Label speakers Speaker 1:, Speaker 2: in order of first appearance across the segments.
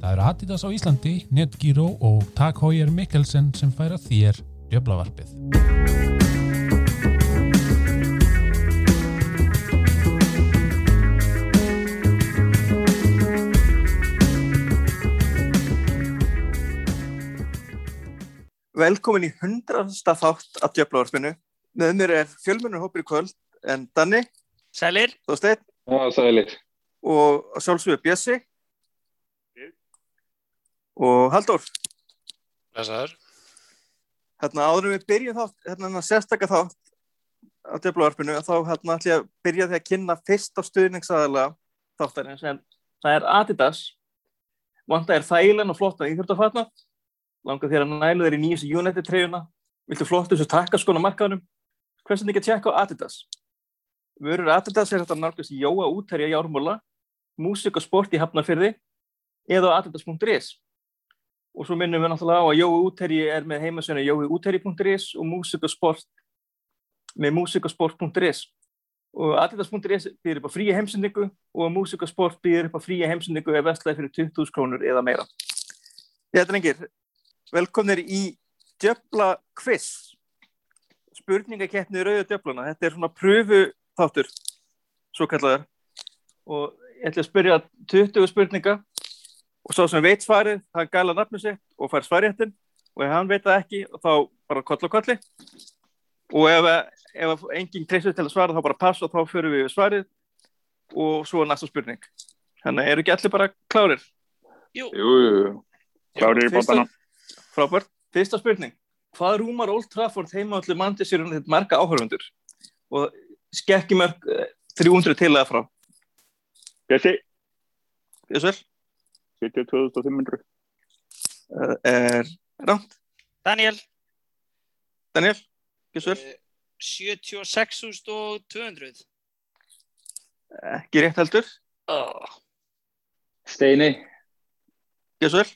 Speaker 1: Það eru Adidas á Íslandi, Netgyro og Tag Heuer Mikkelsen sem færa þér djöflavarpið.
Speaker 2: Velkomin í hundraðasta þátt af djöflavarpinu. Með mér er fjölmennur hópur í kvöld en Danni,
Speaker 3: Sælir,
Speaker 2: Þorsteinn
Speaker 4: Já, sælir.
Speaker 2: og að sjálfsögðu Bjössi og Halldór.
Speaker 5: Blessaður.
Speaker 2: Hérna áður en við byrjum þátt, hérna þennan sérstaka þátt af djöflavarpinu þá hérna ætlum ég að byrja því að kynna fyrst á stuðningsaðala þáttarins en það er Adidas. Vanda er þægilegan og flottan íþjóftafatna. Langar þér að nælu þér í nýjus United treyjuna. Viltu flottu þessu takkaskona markaðunum? Hversu ekki að tjekka á Adidas? Vörur Adidas er þetta nálgast í Jóa útherja í Ármúla, músík og sport í Hafnarfyrði eða á adidas.is. Og svo minnum við náttúrulega á að Jói útherji er með heimasögnu jóiútherji.is og músík og sport með músík og sport.is. Og adidas.is býðir upp á fríja heimsendingu og músík og sport býðir upp á fríja heimsendingu ef vestlaði fyrir 20.000 krónur eða meira. Þetta er engir, velkomnir í Djöfla Quiz spurningakeppni rauðu djöfluna. Þetta er svona pröfu þáttur, svo kallaðar. Og ég ætla að spyrja 20 spurninga og svo sem veit svarið, hann gæla nafnum sitt og fær svarjættin og ef hann veit það ekki, þá bara koll og kolli. Og ef, ef enginn treystur til að svara, þá bara pass og þá förum við yfir svarið og svo er næsta spurning. Þannig eru ekki allir bara klárir.
Speaker 4: Jú, jú, jú. Klárir í bóttana.
Speaker 2: Fyrsta- Frábært. Fyrsta spurning. Hvað rúmar Old Trafford heimavallu mandi sér um þetta marga áhörfundur? Og skekkjumörk 300 til eða frá.
Speaker 4: Bjössi,
Speaker 2: Jösvel,
Speaker 4: 72.500.
Speaker 2: eh, er rámt.
Speaker 3: Daniel,
Speaker 2: Daniel, Jösvel,
Speaker 5: Eh, 76.200.
Speaker 2: ekki rétt heldur.
Speaker 5: Oh,
Speaker 4: Steini,
Speaker 2: Jösvel,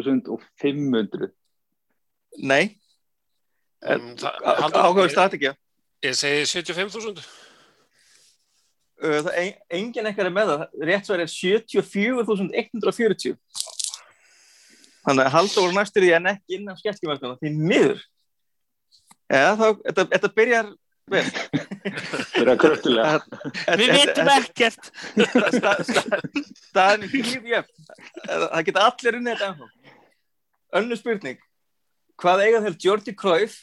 Speaker 4: 76.500.
Speaker 2: nei. Eh,
Speaker 5: um, það- Halldór,
Speaker 2: Ákvæmst
Speaker 5: ég-
Speaker 2: það ekki.
Speaker 5: Ég segi 75.000.
Speaker 2: Eh, það- en- Engin ekkert er með það. Rétt svar er 74.140. Þannig að halda voru næstur því en ekki innan skekkjumörkuna. Því miður. Eða þá, þetta, þetta byrjar vel.
Speaker 4: Það er að kröftulega.
Speaker 3: við vitum ekkert.
Speaker 2: staðin hýf jöfn það geta allir unnið þetta ennþá önnu spurning hvað eiga þeir Jordi Cruyff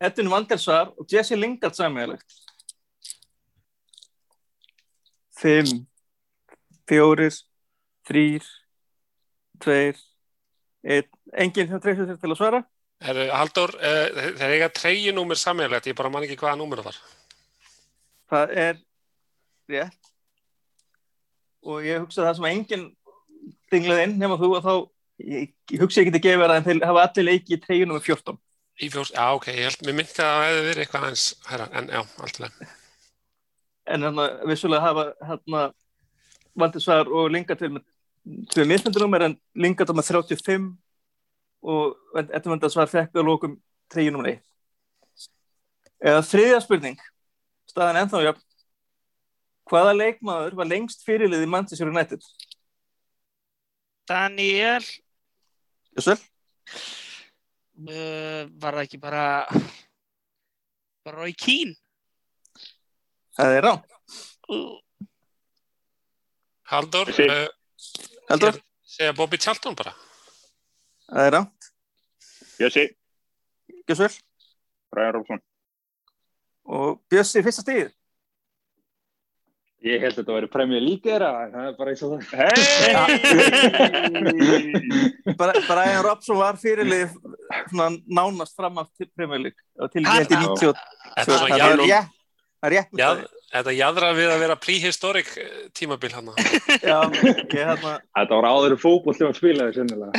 Speaker 2: Edwin Van der Sar og Jesse Lingard sammeðalegt 5 4 3 2 1 enginn sem treysir sér til að svara
Speaker 5: Herru, Halldór, uh, þeir eiga treyju númer sammeðlegt, ég bara man ekki hvaða númer það var.
Speaker 2: það er rétt og ég hugsa það sem enginn dinglaði inn nema þú að þá ég, ég hugsa ég geti gefið það en þeir hafa allir leiki í treyju nummer 14
Speaker 5: Í fjórs, já, ok, ég held, mér myndi að það hefði verið eitthvað aðeins, herra, en já, allt í lagi.
Speaker 2: en hann vissulega hafa hérna Vandisvar og Lingard til með tvei mismyndunumir en Lingard á með 35 og eftir Vandisvar fekk að lókum treyju nummer 1 eða þriðja spurning staðan ennþá jöfn hvaða leikmaður var lengst fyrirlið í Manchester United?
Speaker 3: Daniel,
Speaker 2: Jössel?
Speaker 3: uh, var það ekki bara, bara Roy Keane?
Speaker 2: Það er rán.
Speaker 3: Uh,
Speaker 5: Halldór,
Speaker 4: Sí.
Speaker 5: uh,
Speaker 2: Heldur?
Speaker 5: ég segja Bobby Charlton bara.
Speaker 2: Það er rámt,
Speaker 4: Bjössi,
Speaker 2: Gjössvel.
Speaker 4: Brian Robson.
Speaker 2: Og Bjössi fyrsta stíð.
Speaker 4: Ég held að þetta væri premjör líkera, en það er bara eins og það.
Speaker 2: Brian Robson var fyrirlið svona nánast fram af premjölík og til
Speaker 3: Hann-
Speaker 2: ég held í 90. og-
Speaker 5: Þetta
Speaker 2: svo-
Speaker 5: var
Speaker 2: Það er
Speaker 5: jaðra-
Speaker 2: rétt. Það er rétt. með
Speaker 5: jað- Þetta jadra við að vera prehistoric eh, tímabil hann.
Speaker 2: það. Já, ég hérna.
Speaker 4: Þetta var áður fókból til að spila þér sennilega.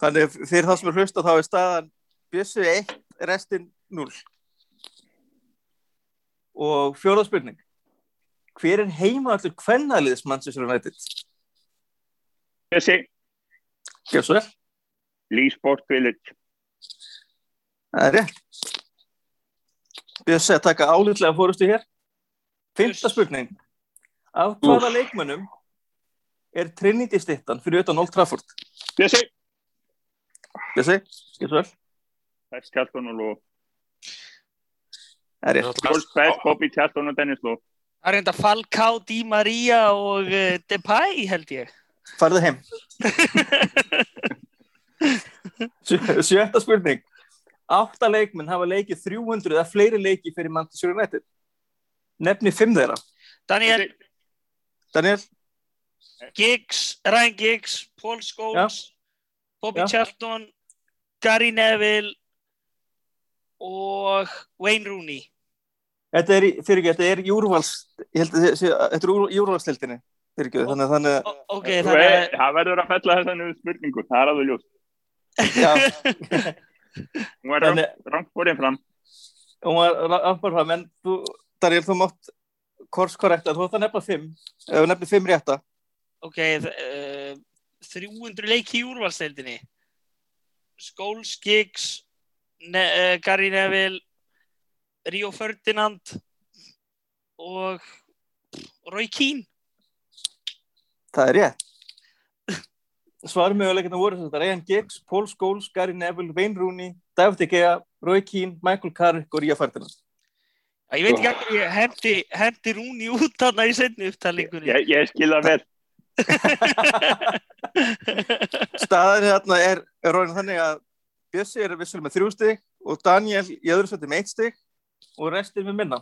Speaker 2: Þannig fyrir það sem er hlusta þá er staðan Bjössi 1, restin 0. Og fjóða spurning. Hver er heimallur kvennaliðs Manchester United?
Speaker 4: Bjössi,
Speaker 2: Gjössvel.
Speaker 4: Lee Sport Village.
Speaker 2: Það er rétt. Bjössi að taka álitlega fórustu hér. Fymta
Speaker 3: Uss.
Speaker 2: spurning. Af hvaða leikmönnum er Trinity stittan fyrir utan Old Trafford?
Speaker 4: Bjössi,
Speaker 2: Bjössi, skil svo vel.
Speaker 4: Pets, Kjartan og Ló.
Speaker 2: Það er rétt.
Speaker 4: Wolf, Pets, Bobby, Kjartan og Dennis Ló.
Speaker 3: Það er enda Falcá, Di Maria og uh, Depay held ég.
Speaker 2: Farðu heim. Sjö- Sjötta spurning. Átta leikmenn hafa leikið 300 eða fleiri leiki fyrir Manchester United. Nefni fimm þeirra.
Speaker 3: Daniel
Speaker 2: Daniel,
Speaker 3: Giggs, Ryan Giggs, Paul Scholes, Bobby
Speaker 2: Já.
Speaker 3: Charlton, Gary Neville og Wayne Rooney.
Speaker 2: þetta er, í- fyrirgefðu, þetta er í úrvals, ég held að þið séu- þetta er úr- í úrvalstildinni, fyrirgjöðu, þannig að þannig að,
Speaker 3: O ok, þannig að...
Speaker 4: Það verður að fella þessan um spurningu, það er alveg ljúst.
Speaker 2: já,
Speaker 4: Hún var
Speaker 2: þannig,
Speaker 4: rangfórið fram.
Speaker 2: hún var áfram fram, en þú, Daniel, þú mátt korskorrekta, þú ætti að nefna fimm, ef þú nefnir fimm rétta,
Speaker 3: Ok, uh, 300 leiki í úrvalsteildinni Scholes, Giggs ne uh, Gary Neville Rio Ferdinand og Roy Keane
Speaker 2: það er rétt. Svarmöguleikina voru þetta, Ryan Giggs, Paul Scholes, Gary Neville, Wayne Rooney, David Egea, Roy Keane, Michael Carrick og Ría Ferdinand.
Speaker 3: Æ, Ég veit ekki hvernig ég hendi, hendi Rúni út þarna í setni upptalingunni
Speaker 4: Ég, ég skil það vel.
Speaker 2: Staðan hérna er, er ráðin þannig að Bjössi er vissulega með þrjú stig og Daniel í öðru seti með eitt stig og restir með minna.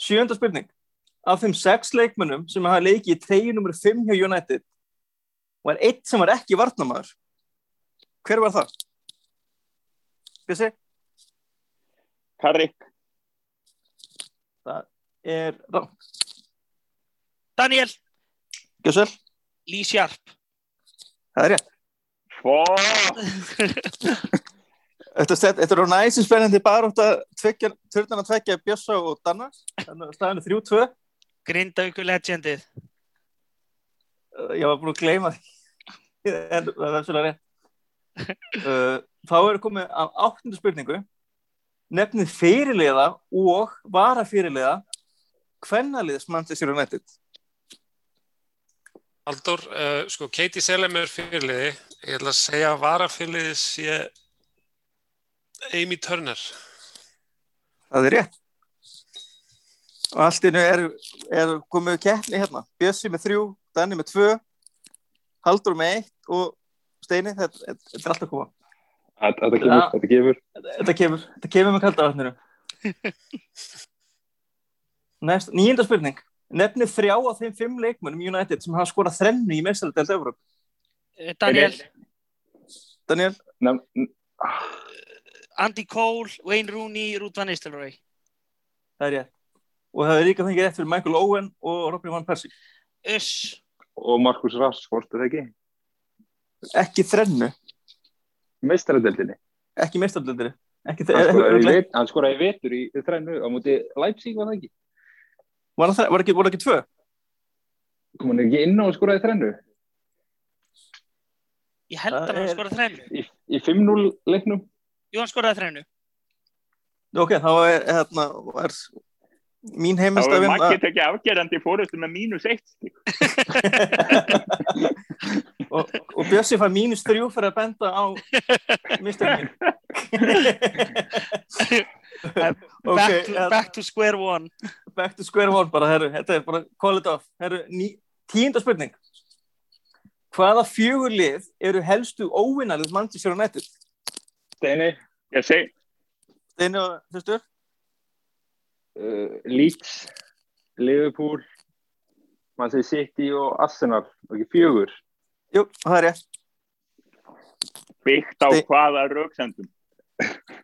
Speaker 2: Sjönda spurning. Af þeim sex leikmönnum sem hafa leikið í treyju nummer 5 hjá United var eitt sem var ekki varnamaður. Hver var það? Bjössi
Speaker 4: Karri,
Speaker 2: er rátt.
Speaker 3: Daniel,
Speaker 2: Gjössel,
Speaker 3: Lee Sharp
Speaker 2: það er rétt.
Speaker 4: fó,
Speaker 2: Þetta, þetta, þetta er á næsi spennandi barótt að törnana tvekja Bjössa og Danna. Þannig að staðan er 3-2.
Speaker 3: Grindauku legendið
Speaker 2: Uh, ég var búin að gleyma því en það er svolítið rétt uh, þá er komið af áttundu spurningu nefnið fyrirliða og varafyrirliða hvernaliðs Manchester United
Speaker 5: Haldur, uh, sko, Katie Selem er fyrirliði. Ég ætla að segja að varafyrirliði sé Amy Turner.
Speaker 2: það er rétt og allt innu er, er komið keppni hérna, Bjössi með þrjú Danni með tvö, Haldur með eitt og Steini þetta, þetta, þetta er allt að koma
Speaker 4: Þetta kemur,
Speaker 2: Ja.
Speaker 4: þetta kemur.
Speaker 2: þetta kemur, þetta kemur með kalda vatninu Næst, nýjunda spurning nefnið þrjá af þeim fimm leikmönnum United sem hafa skorað þrennu í mestaraldelt Evróp
Speaker 3: Eh, Daniel,
Speaker 2: Daniel,
Speaker 4: Nefn-
Speaker 3: Andy Cole, Wayne Rooney, Ruud Van Nistelrooy
Speaker 2: það er ég og það er líka þengið rétt fyrir Michael Owen og Robin Van Persie
Speaker 3: Uss,
Speaker 4: Og Markus Rassford, er það ekki?
Speaker 2: ekki þrennu,
Speaker 4: Meistaradeldinni.
Speaker 2: ekki mestaraldelt ekki
Speaker 4: Hann skoraði í
Speaker 2: þrennu
Speaker 4: vet- hann skoraði í vetur í þrennu á móti Leipzig, var það ekki?
Speaker 2: var það þrennu, voru ekki, voru ekki tvö
Speaker 4: Kom hann ekki inn á og skoraði í þrennu?
Speaker 3: ég held
Speaker 2: Það
Speaker 3: að hann
Speaker 2: er-
Speaker 3: skoraði þrennu
Speaker 4: Í, í 5-0 leiknum?
Speaker 3: Jú, hann skoraði þrennu
Speaker 2: ok, þá er, hérna, er mín heimilstafinn að-
Speaker 4: ekki afgerandi fórustu með mínus eitt stík.
Speaker 2: og, og Bjössi fær mínus þrjú fyrir að benda á mistökin ok,
Speaker 3: back, to,
Speaker 2: eh,
Speaker 3: back to square one
Speaker 2: back to square one bara, herru, þetta er bara call it off herru, ný, tíunda spurning hvaða fjögurlið eru helstu óvinnalið Manchester United
Speaker 4: Steini, ég segi
Speaker 2: Steini og Þjóstur
Speaker 4: uh, Leeds, Liverpool, mann segi City og Arsenal, og ekki fjögur.
Speaker 2: jú, það er rétt
Speaker 4: Byggt á
Speaker 2: Ste-
Speaker 4: hvaða rauksendum?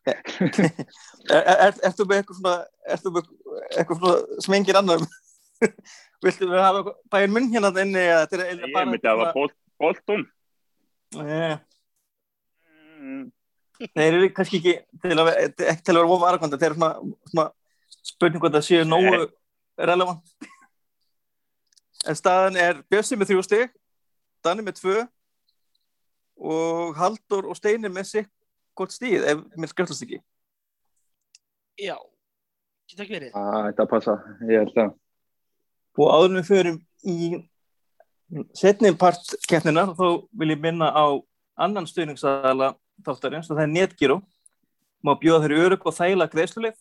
Speaker 2: er, er, er, ertu með eitthvað svona ertu með eitthvað svona smengir annar viltu við hafa bæinn munn hérna inni eða þetta er eiginlega
Speaker 4: Ég myndi að það var Bolton.
Speaker 2: Nei, þeir eru kannski ekki til að, eh, ekki til að vera vofa aðrakvönda þeir eru svona, svona spurning hvort það séu nógu relevant en staðan er Bjössi með þrjú stig Danni með tvö og Haldur og Steini með sitt gott stíð ef mér skjöldast ekki
Speaker 3: já, Getur ekki verið.
Speaker 4: Ah, þetta passa, ég held að.
Speaker 2: og áður en við förum í setni part keppninar þá vil ég minna á annan stuðningsaðala þáttarins og það er Netgyro má bjóða þeirri örug og þægila greiðsluleið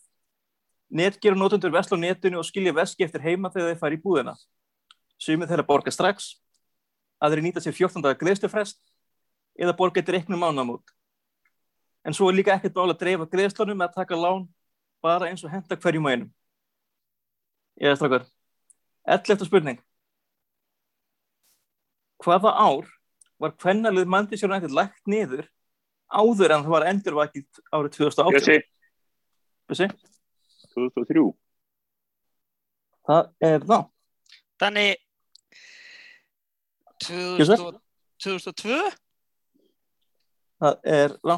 Speaker 2: Netgyro notendur vesla á netinu og skilja veski eftir heima þegar þeir fari í búðina sumið þeirra borga strax aðri nýta sér 14. daga greiðslufrest eða borga eftir einhvern mánamót en svo er líka ekkert mála að dreifa greiðslunum með að taka lán bara eins og henda hverjum á einum ég er strakkar 11. spurning Hvaða ár var kvennalið Mandis United lagt niður áður en það var endurvakið árið 2018?
Speaker 4: Bjössi,
Speaker 2: Bjössi.
Speaker 4: 2003.
Speaker 2: Það er þá.
Speaker 3: Þannig 2000 og- 2002?
Speaker 2: Það er þá.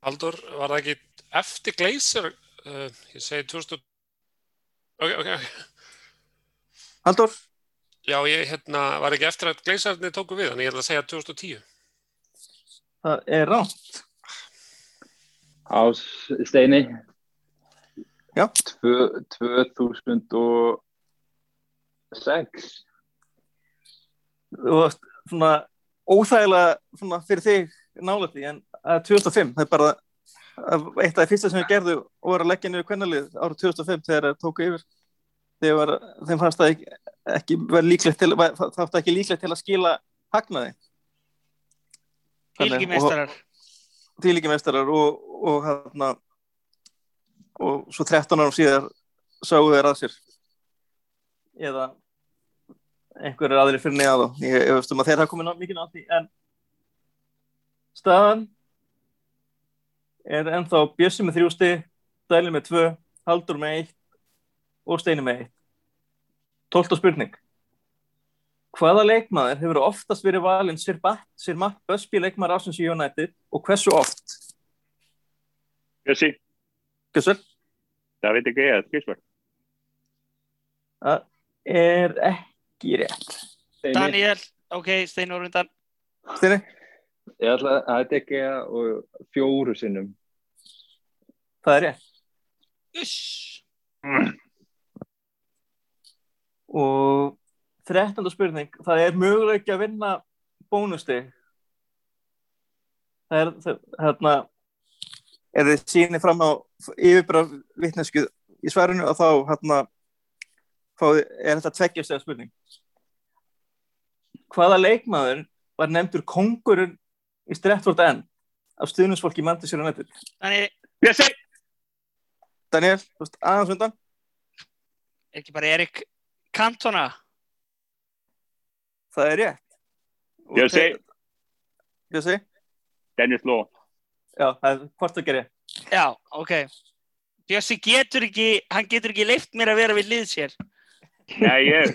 Speaker 5: Haldur, var það ekki eftir Glazer? Uh, ég segi 2000... Ok, ok, ok.
Speaker 2: Haldur,
Speaker 5: Já, ég hérna, var ekki eftir að Glazerni tóku við, þannig ég ætla að segja 2010.
Speaker 2: það er þá.
Speaker 4: Á steini.
Speaker 2: Já.
Speaker 4: Tvö, 2006.
Speaker 2: Þú varst svona óþægilega svona fyrir þig nála því en það er 2005, það er bara það- eitt af því fyrsta sem við gerðu og var að leggja niður kvennalið árið 2005 þegar það tóku yfir þegar var, þeim fannst það ekki, ekki var líklegt til, var, það átti ekki líklegt til að skila hagnaði Þannig,
Speaker 3: Ilgi meistarar.
Speaker 2: tílíki mestarar og, og hérna og svo 13 árum síðar sáu þeir að sér eða einhverjir aðrir fyrir neða þá ég veist um að þeir hafa komin á mikið á því en staðan er ennþá Bjössi með þrjústi Dæli með tvö, Haldur með eitt og Steini með eitt 12. spurning Hvaða leikmaður hefur oftast verið valinn sér batt, sér matt, Busby leikmaður ásins í United og hversu oft?
Speaker 4: Bjössi,
Speaker 2: Gjössvel?
Speaker 4: það veit ekki ég að skilsvar.
Speaker 2: Er ekki rétt.
Speaker 4: Steini,
Speaker 3: Daniel, ok, Steinur undan.
Speaker 2: Steini?
Speaker 4: ég ætla að þetta ekki að og fjóru sinnum.
Speaker 2: Það er rétt.
Speaker 3: Uss.
Speaker 2: Og 13. spurning, það er möguleik að vinna bónusti. Það er, það, hérna, er þið sýni fram á yfirbra vitnesku í svarinu og þá, hérna, þá er þetta tveggjast eða spurning. Hvaða leikmaður var nefndur kongurinn í Stretford End af stuðnusfólki í Manchester United?
Speaker 3: Þannig
Speaker 4: Bjössi!
Speaker 2: Daniel, þú veist, aðeins undan.
Speaker 3: er ekki bara Erik Cantona.
Speaker 2: Það er rétt. Og
Speaker 4: Bjössi.
Speaker 2: þeir- Bjössi?
Speaker 4: Dennis Ló.
Speaker 2: Já, það er hvort að gera.
Speaker 3: Já, ok. Bjössi getur ekki, hann getur ekki leift mér að vera við lið sér.
Speaker 6: Nei, ég,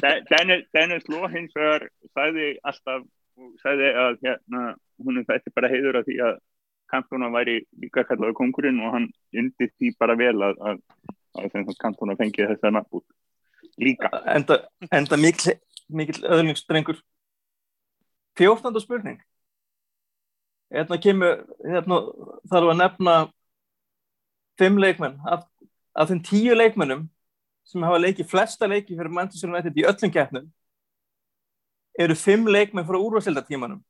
Speaker 6: Den- Dennis, Dennis Ló hins vegar sagði alltaf, sagði að hérna, hún er þetta bara heiður að því að Cantona væri líka kallaður kongurinn og hann undir því bara vel að, að, að sem sagt Cantona fengi þessa nafnbútt líka.
Speaker 2: Enda, enda mikil, mikil öðlingsdrengur. 14. spurning. Hérna kemur, hérna þarf að nefna fimm leikmenn. Af, af þeim tíu leikmennum sem hafa leikið flesta leiki fyrir Manchester United í öllum keppnum eru fimm leikmenn frá úrvarsildartímanum.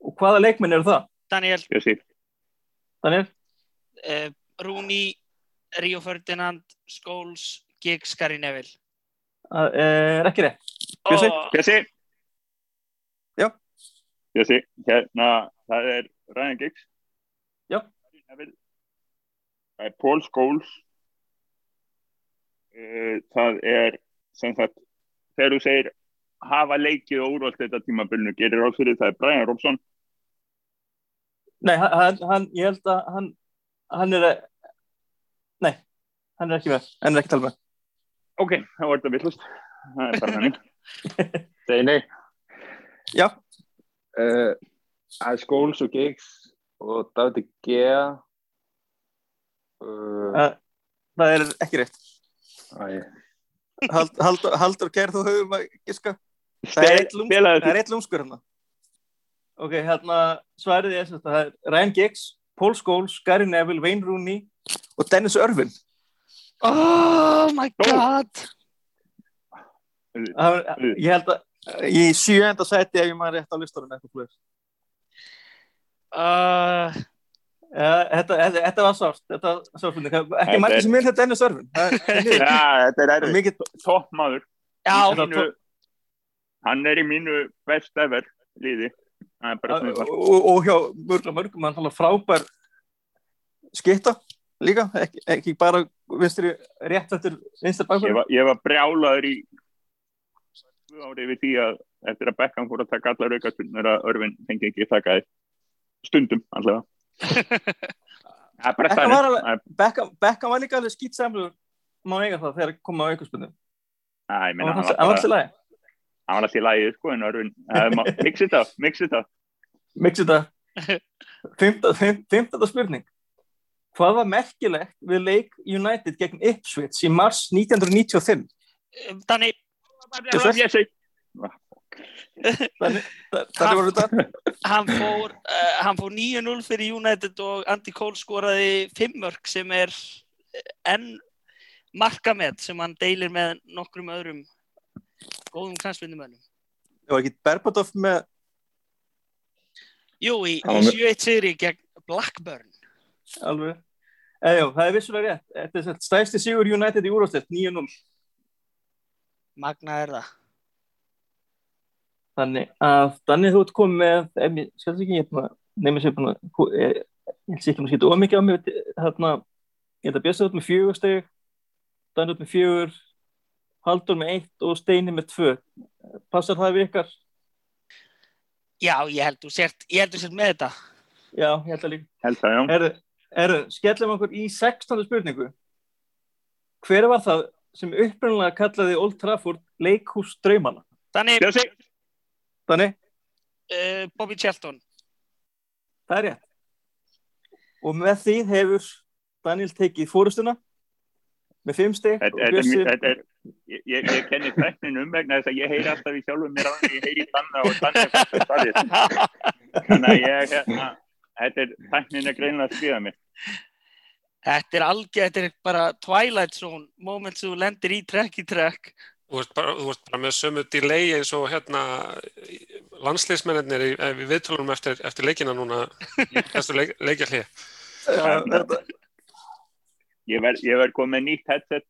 Speaker 2: Og hvaða leikmenn eru það?
Speaker 3: Daniel,
Speaker 6: Þessi,
Speaker 2: Þannig,
Speaker 3: uh, Rúni, Ríó Ferdinand, Skóls, Giggs, Gary Neville. Oh,
Speaker 2: það eh, er ekki rétt. Bjössi?
Speaker 3: Ó,
Speaker 6: þessi.
Speaker 2: Já.
Speaker 6: Þessi, hérna, það er Ryan Giggs.
Speaker 2: Já.
Speaker 6: Það er Paul Scholes. Eh, Það er, sem sagt, þegar þú segir hafa leikið og úrvald þetta tímabilinu gerir ráð fyrir það er Brian Robson
Speaker 2: Nei, hann- hann, hann, ég held að hann, hann er að, nei, hann er ekki með, hann er ekki að tala með.
Speaker 6: ok, það var þetta villust það er bara þannig
Speaker 4: Steini.
Speaker 2: Já,
Speaker 4: Uh, Skóls og Giggs og David Gea. Uh,
Speaker 2: Ja. það er ekki rétt. Eh.
Speaker 4: æ,
Speaker 2: Hald, hald, haldur kæri þú höfum að giska. Það er
Speaker 6: Stel-
Speaker 2: eitt lúmskur,
Speaker 6: spilaðu
Speaker 2: það
Speaker 6: því
Speaker 2: er eitt lúmskur hérna. Ok, hérna svarið er sem sagt að það er Ryan Giggs, Paul Scholes, Gary Neville, Wayne Rooney og Dennis Örfin
Speaker 3: Oh my god
Speaker 2: ég held að í sjöenda seti ef ég maður rétt á listanum eitthvað flöður
Speaker 3: uh,
Speaker 2: þetta, þetta, þetta var sárt, þetta var sárfunding
Speaker 6: Þetta
Speaker 2: ekki
Speaker 6: er-
Speaker 2: margir sem vil þetta Dennis Örfin það er- það er niður.
Speaker 6: Já, þetta er erfið.
Speaker 2: mikið
Speaker 6: Topp maður.
Speaker 3: Já,
Speaker 2: Þetta-
Speaker 6: Mínu, hann er í mínu best ever liði. Það er bara svona það.
Speaker 2: og, og hjá mörgum mörgum hann tala frábær skitta líka, ekki, ekki bara vinstri, rétt eftir vinstri
Speaker 6: Ég
Speaker 2: bakur
Speaker 6: var, ég var brjálaður í tvö ári við því að eftir að Beckham fór að taka allar aukastundur að Örvin fengi ekki taka þér stundum allavega. Það er bara
Speaker 2: Þetta var alveg-
Speaker 6: stærn.
Speaker 2: Beckham, Beckham var líka alveg skýtsamlur má eiga það þegar koma á aukurspunni
Speaker 6: Það er
Speaker 2: hann
Speaker 6: meina,
Speaker 2: var
Speaker 6: hann
Speaker 2: alltaf-
Speaker 6: var
Speaker 2: hann var
Speaker 6: bara,
Speaker 2: alltaf í lagi
Speaker 6: hann var alltaf í lagið, sko, en Örvin, það er ma- mix it up, mix it up.
Speaker 2: Mix þetta Fymta- fym- Fymtanda spurning Hvað var merkilegt við leik United gegn Ipswich í mars 1995?
Speaker 3: Danni
Speaker 2: Þessi-
Speaker 6: Ég segi,
Speaker 2: Þa- Þannig var þetta
Speaker 3: hann fór, uh, hann fór 9-0 fyrir United og Andy Cole skoraði 5 mörg sem er eh, enn markamet sem hann deilir með nokkrum öðrum góðum knastvinnumönnum.
Speaker 2: Það var ekki Berbatov með
Speaker 3: Jú, í,
Speaker 4: Hann
Speaker 3: í
Speaker 4: var með-
Speaker 3: 7-1 sigri gegn Blackburn.
Speaker 2: alveg Eða já, það er vissulega rétt Þetta er satt stæsti sigur United í úrvastett 9-0
Speaker 3: Magna er það.
Speaker 2: Þannig að Danni þú ert komið með ef ég skjátt ekki hérna, ég nefnir sér búin að hú- eh, ég sé ekki að skita ómikið á mig þarna hérna, ég held að Bjössi þú ert með fjögur steg Danni þú ert með fjögur Haldur með eitt og Steini með tvö Passar það við ykkar?
Speaker 3: Já, ég held þú sért, ég held þú sért með þetta.
Speaker 2: Já, ég held að líka.
Speaker 6: held það, já.
Speaker 2: Erðu, er, skellum okkur í 16. spurningu. Hver var það sem upprunalega kallaði Old Trafford leikhús draumana?
Speaker 3: Þannig,
Speaker 6: Ég segi,
Speaker 2: Þannig,
Speaker 3: uh, Bobby Charlton.
Speaker 2: það er rétt. Og með því hefur Daniel tekið fórustuna með fimm steg og
Speaker 6: Þetta er,
Speaker 2: Bjössi
Speaker 6: þetta er, ég, ég ég kenni tæknin um vegna þess að ég heyri alltaf í sjálfum mér á hann, ég heyri í Danna og Danna er fyrst að staðið. Þannig að ég, hérna, þetta er, tæknin er greinilega að skriða mér.
Speaker 3: Þetta er algjör, þetta er bara Twilight Zone, moment sem þú lendir í trekk í trekk.
Speaker 5: Þú ert bara, þú ert bara með sömu delay eins og hérna landsliðsmennir við viðtölunum eftir, eftir leikina núna eftir leik, leikja
Speaker 2: Já, þetta-
Speaker 6: Ég verð, ég verð komið með nýtt headset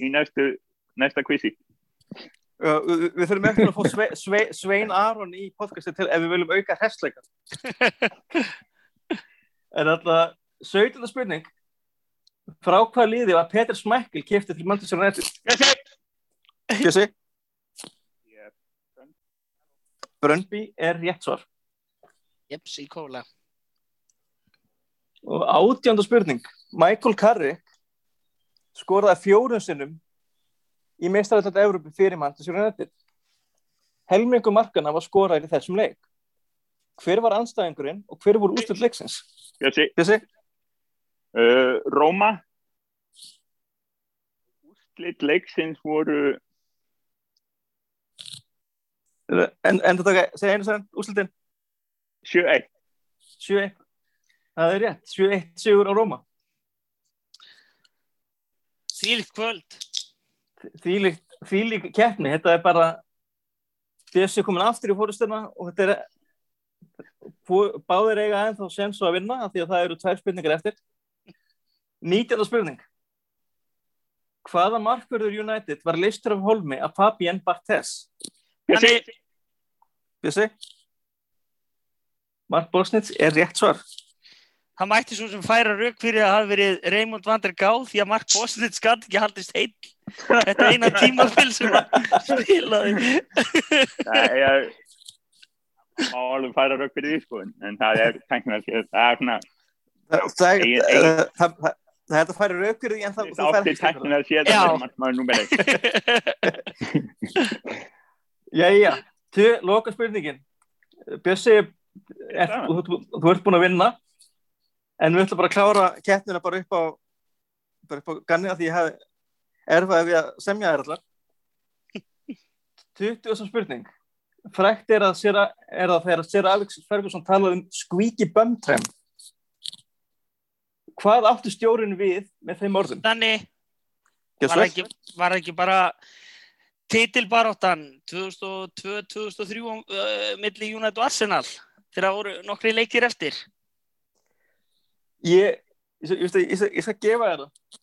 Speaker 6: í næstu, næsta quizi.
Speaker 2: Já, við við þurfum eftir að fá sve, sve, Svein Aron í podcasti til ef við viljum auka hersleika en alltaf 17. spurning frá hvað liði var Peter Smækkel kiptið til Manchester United
Speaker 6: Ég segi,
Speaker 2: Kjössi,
Speaker 6: Ég-
Speaker 2: Brönnby er rétt svar
Speaker 3: Jeps, í kóla.
Speaker 2: og 18. spurning Michael Carrick skoraði fjórun sinnum í meistarallat Evrópu fyrir Manchester United helmingu markana var skoraði í þessum leik hver var anstæðingurinn og hver voru ústöld leiksins
Speaker 6: ég segi,
Speaker 2: Kjössi
Speaker 6: uh, Róma. Úslit leiksins voru,
Speaker 2: En, en þetta segja einu sann, úrslitin
Speaker 6: 7-1.
Speaker 2: 7-1 Það er rétt, 7-1 sigur á Róma
Speaker 3: Þvílikt kvöld.
Speaker 2: Þvílík, þvílík keppni, þetta er bara Bjössi komin aftur í fórustuna og þetta er Fó- báðir eiga aðeins þá sem svo að vinna af því að það eru tvær spurningar eftir 19. spurning Hvaða markverður United var leistur af holmi af Fabien Barthez?
Speaker 6: Ég segi,
Speaker 3: Þannig,
Speaker 2: Bjössi? Mark Bosnitz er rétt svar
Speaker 3: það mætti svo sem færa rauk fyrir að hafa verið Raymond van der Gá því að Mark Bosnitz gatt ekki haldist heill þetta eina tímafill sem hann spilaði
Speaker 6: Það er má alveg færa rökk fyrir því sko en- en það er tæknilega það er svona
Speaker 2: Það, það,
Speaker 6: Eigin-
Speaker 2: það, það, það, það er að færa raukur í en það þú færð
Speaker 6: átti
Speaker 2: ekki stikuna.
Speaker 6: tæknilega séð
Speaker 3: Já.
Speaker 6: það er markmaður númer eitt
Speaker 2: Jæja, til loka spurningin Bjössi er, þú, þú, þú ert búin að vinna en við ætlum bara að klára kettnina bara upp á bara upp á ganni að því ég hef erfaði við að semja þér allar 20. spurning frækt er að sér er að þegar sér Alex Ferguson talaði um squeaky bum tram hvað áttu stjórinn við með þeim orðum?
Speaker 3: Þannig
Speaker 2: Gjörðu
Speaker 3: var
Speaker 2: svo
Speaker 3: það
Speaker 2: vel.
Speaker 3: ekki, var það ekki bara titilbaróttan 2002-2003 uh, milli United og Arsenal þegar það voru nokkri leikir eftir
Speaker 2: Ég, ég, ég, veist að- ég, ég skal gefa þér það.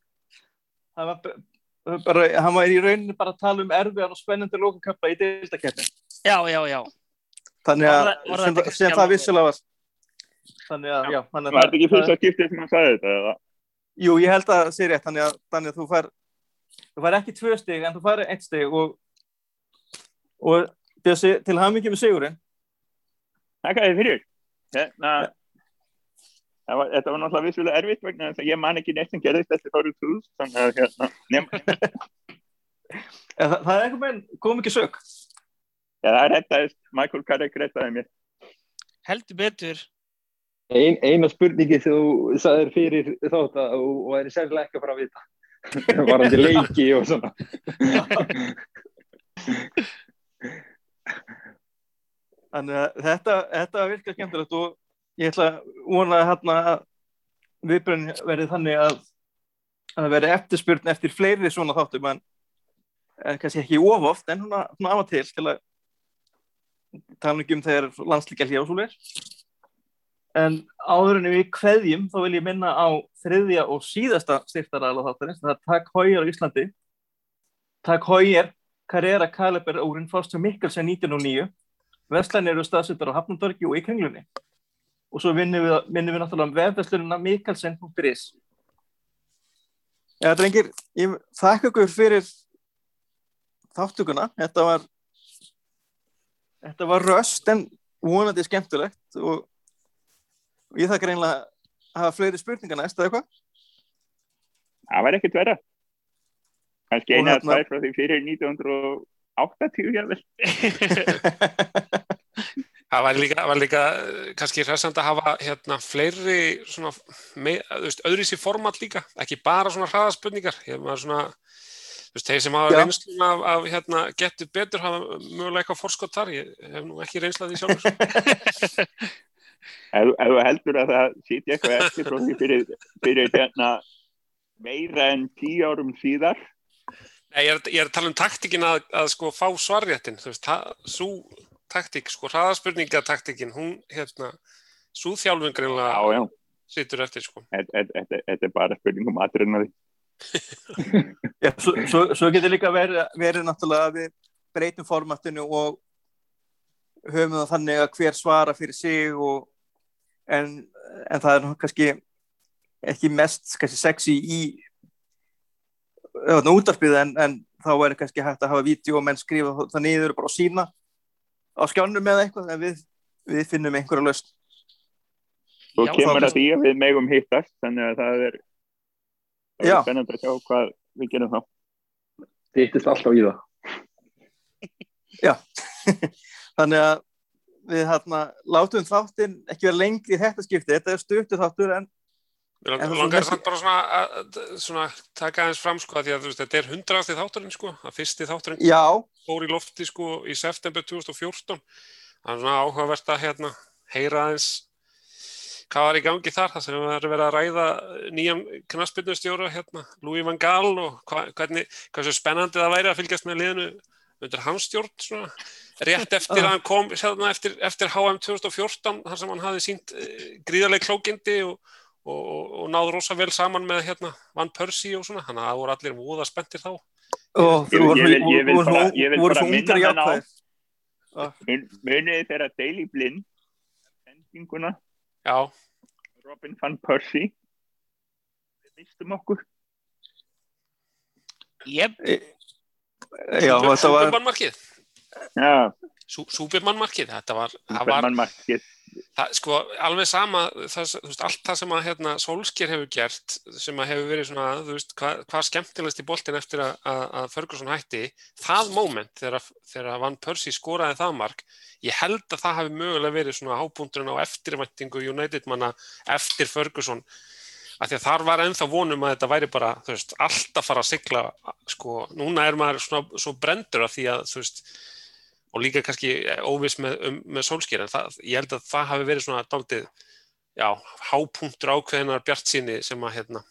Speaker 2: Það var b- það var bara, hann var í rauninni bara að tala um erfiðan og spennandi lókakappa í deildakeppni.
Speaker 3: já, já, já,
Speaker 2: Þannig
Speaker 3: Var
Speaker 2: að,
Speaker 3: það- var það
Speaker 2: sem,
Speaker 3: ekki
Speaker 2: sem
Speaker 3: Kristján
Speaker 2: það
Speaker 3: Lóa?
Speaker 2: vissilega var. Þannig að, já. þannig að
Speaker 6: Var þetta ekki
Speaker 2: það-
Speaker 6: fyrst að skiptið sem hann sagði þetta? Eða?
Speaker 2: Jú, ég held að það sé rétt, þannig að, þannig að þú fær þú fær ekki tvö stig, en þú fær eitt stig og, og Bjössi, til hamingi með sigurinn
Speaker 6: Þakka þér fyrir. Hérna, það var, þetta var náttúrulega vissulega erfitt vegna þess að ég man ekki neitt sem gerðist eftir árið 2000, þannig að hérna, nema,
Speaker 2: en það, það er eitthvað með, kom ekki sök
Speaker 6: ja, það rettaðist, Michael Carrick rettaði mér.
Speaker 3: heldur betur
Speaker 4: Ein, eina spurningi sem þú sagðir fyrir þátt að og, og er sérlega ekki að fara að vita varandi leiki og svona
Speaker 2: þannig að þetta, þetta virkar skemmtilegt og ég ætla að vona að hérna að viðbröðin verði þannig að að það verði eftirspurn eftir fleiri svona þáttum en, en kannski ekki of oft en svona, svona af og til til að tala nú ekki um þegar landslíkja hljá svo leir en áður en við kveðjum þá vil ég minna á þriðja og síðasta styrtaræðala þáttarins það er Takk Hójar á Íslandi Takk Hójar Carrera Kaliber Órin Foster Mikkelsen 1909 Veslan eru staðsettar á Hafnandorgi og í Kringlunni. Og svo vinnum við, vinnum við náttúrulega um vefveslunina mikalsen.is. Já, drengir, ég þakka ykkur fyrir þáttuguna. Þetta var, þetta var röst en vonandi skemmtilegt og, og ég þakka reynilega að hafa fleiri spurningar næst eða eitthvað.
Speaker 6: Það var ekkert vera. Kannski
Speaker 2: Og
Speaker 6: eina að
Speaker 2: hérna-
Speaker 6: tvær frá því fyrir 1980, jável.
Speaker 5: Það var líka, var líka eh, kannski hressand að hafa hérna fleiri svona, með, þú veist, öðru sér format líka, ekki bara svona hraðaspurningar, ég maður svona, þú veist, þeir sem hafa
Speaker 2: Já.
Speaker 5: reynslun af, af hérna, getur betur hafa mögulega eitthvað forskot þar, ég hef nú ekki reynslað því sjálfur.
Speaker 6: Ef ef þú heldur að það sitja eitthvað eftir frá því fyrir, fyrir hérna, meira en tíu árum síðar,
Speaker 5: Nei, ég er, ég er að tala um taktikinn að, að sko fá svarréttin, þú veist, það, sú taktík, sko hraðaspurningataktikinn, hún, hérna, sú þjálfun
Speaker 6: já,
Speaker 5: greinlega
Speaker 6: já,
Speaker 5: situr eftir, sko.
Speaker 6: þetta- þetta þetta- þetta er bara um spurningum aðrunnaði.
Speaker 2: Já, svo, svo, svo getur líka verið, verið náttúrulega að við breytum formatinu og höfum það þannig að hver svara fyrir sig og, en, en það er nú kannski ekki mest kannski sexy í öðvitað, útarpið en, en þá er kannski hægt að hafa vídeo og menn skrifa það niður og bara sína á skjánum eða eitthvað en við, við finnum einhverja laust
Speaker 6: Svo
Speaker 3: Já,
Speaker 6: kemur
Speaker 2: það-
Speaker 6: að því að við megum hittast, þannig að það er, það
Speaker 2: Já.
Speaker 6: er spennandi að sjá hvað við gerum þá.
Speaker 4: Dittist alltaf í það
Speaker 2: þannig að við hérna látum þáttinn ekki vera lengri í þetta skipti þetta er stuttu þáttur en
Speaker 5: Mér
Speaker 2: En
Speaker 5: lang-
Speaker 2: það
Speaker 5: langar
Speaker 2: sem
Speaker 5: samt bara svona að- að svona taka aðeins fram sko að því að þú veist þetta er hundraðasti þátturinn sko að fyrsti þátturinn
Speaker 2: já
Speaker 5: fór í lofti sko í september 2014 það er svona áhugavert að hérna heyra aðeins hvað var í gangi þar þar sem við erum verið að ræða nýjan knaspinnustjóra hérna Louis Van Gaal og hva, hvernig hversu spennandi það væri að fylgjast með liðinu undir hans stjórn svona rétt
Speaker 2: Ah.
Speaker 5: eftir að hann kom hérna, eftir, eftir HM 2014 þar sem hann hafði sínt gríðarlega klókindi og og, og, og náð rosa vel saman með hérna Van Persie og svona, þannig að það voru allir voða spenntir þá.
Speaker 2: og
Speaker 6: Ég-
Speaker 2: þú voru
Speaker 6: ég vil- ég vil
Speaker 2: voru-
Speaker 6: bara-
Speaker 2: voru-
Speaker 6: ég vil
Speaker 2: voru
Speaker 6: bara
Speaker 2: svo
Speaker 6: minna
Speaker 2: ungar
Speaker 6: menn á-
Speaker 2: jákvæðir
Speaker 6: Mun- Munið þeirra Daily Blind, sendinguna,
Speaker 5: Já,
Speaker 6: Robin van Persie, við mistum okkur.
Speaker 3: yep.
Speaker 2: já, þetta var
Speaker 5: Súbimannmarkið,
Speaker 6: Já,
Speaker 5: súbimannmarkið, þetta var, það var
Speaker 6: Superman Market.
Speaker 5: það, sko, alveg sama, það, þú veist, allt það sem að hérna, Solskjær hefur gert, sem að hefur verið svona, þú veist, hvað hva skemmtilegst í boltin eftir að, að, að Ferguson hætti, það moment þegar, að- þegar að Van Persie skoraði það mark, ég held að það hafi mögulega verið svona hábúndurinn á eftirvæntingu United manna eftir Ferguson, af því að þar var ennþá vonum að þetta væri bara, þú veist, allt að fara að sigla, sko, núna er maður svona, svo brendur af því að, þú veist, eh, og líka kannski óviss með, um, með sólskýr en það, ég held að það hafi verið svona daldið já, hápunktur ákveðinar bjart síni sem að hérna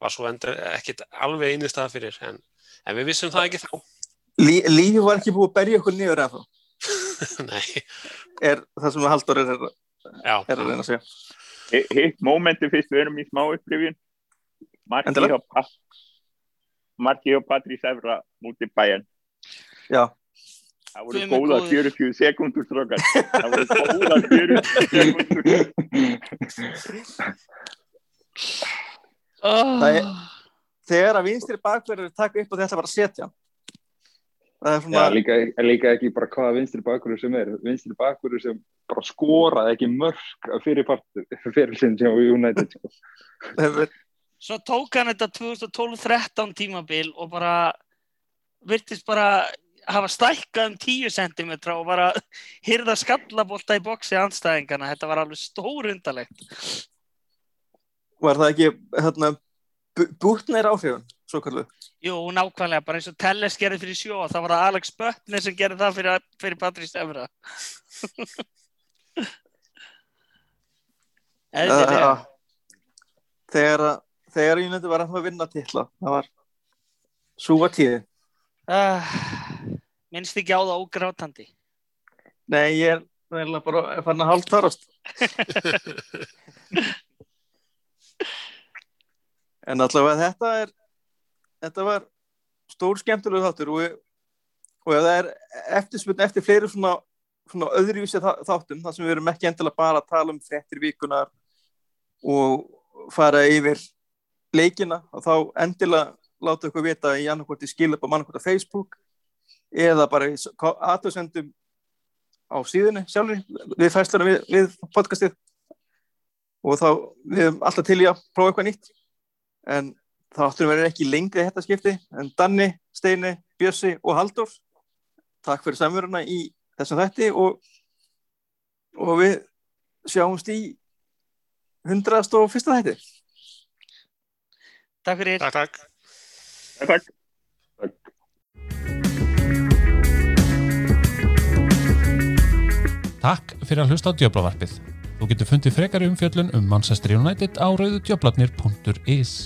Speaker 5: var svo enda ekkit alveg einu stað fyrir en, en við vissum það ekki þá
Speaker 2: Lí, lífi var ekki búið að berja okkur niður ennþá,
Speaker 5: Nei,
Speaker 2: er það sem Halldór er, er,
Speaker 5: já,
Speaker 2: er að reyna að segja.
Speaker 6: Hi- hitt mómenti fyrst við erum í smá upplifjun Marki
Speaker 2: Endilega.
Speaker 6: og, Pat Marki og Patrís Evra múti bæjan
Speaker 2: Já.
Speaker 6: það voru
Speaker 3: Guð minn
Speaker 6: góða
Speaker 3: góður.
Speaker 6: 40 sekundur strókar það voru góða 40 sekundur
Speaker 3: Oh,
Speaker 2: Það er- Þegar að vinstri bakverður taka upp og þetta bara að setja. Það er svona,
Speaker 4: Já, líka, líka ekki bara hvaða vinstri bakverður sem er, vinstri bakverður sem bara skoraði ekki mörg fyrir partur, fyrir sinn sem á United sko.
Speaker 2: hefur,
Speaker 3: Svo tók hann þetta 2012-13 tímabil og bara virtist bara hafa stækkað um 10 cm og bara hyrða skallabolta í boksi anstæðingana. Þetta var alveg stórundalegt.
Speaker 2: var það ekki, hérna, bútnir áhrifun, svo kallu.
Speaker 3: Jú, nákvæmlega, bara eins og Telles gerði fyrir sjó, það var það Alex Böttner sem gerði það fyrir, fyrir Patrís Evra. Eðlilega.
Speaker 2: Uh, þegar að, þegar United var ennþá að vinna titla, það var súa tíði.
Speaker 3: Uh, minnst ekki á það ógrátandi.
Speaker 2: Nei, ég er reynilega bara fann að hálftarast. en allavega þetta er, þetta var stór skemmtilegu þáttur og, og ef það er eftirspunni eftir fleiri svona, svona öðruvísi þa- þáttum, þar sem við erum ekki endilega bara að tala um frettir vikunar og fara yfir leikina og þá endilega láta ykkur vita í annarkvort í skilabá mannarkvort á Facebook eða bara í aðtöðsendum á síðunni sjálfur við fæslunum við, við podcastið og þá við erum alltaf til í að prófa eitthvað nýtt en þátturum verður ekki lengri í þetta skipti en Danni, Steini, Bjössi og Halldór takk fyrir samveruna í þessum þætti og, og við sjáumst í 101. þætti
Speaker 3: Takk fyrir.
Speaker 5: takk, takk.
Speaker 6: takk
Speaker 1: Takk fyrir að hlusta á Djöblavarpið. Þú getur fundið frekari umfjöllun um Manchester United á rauðudjöblarnir.is.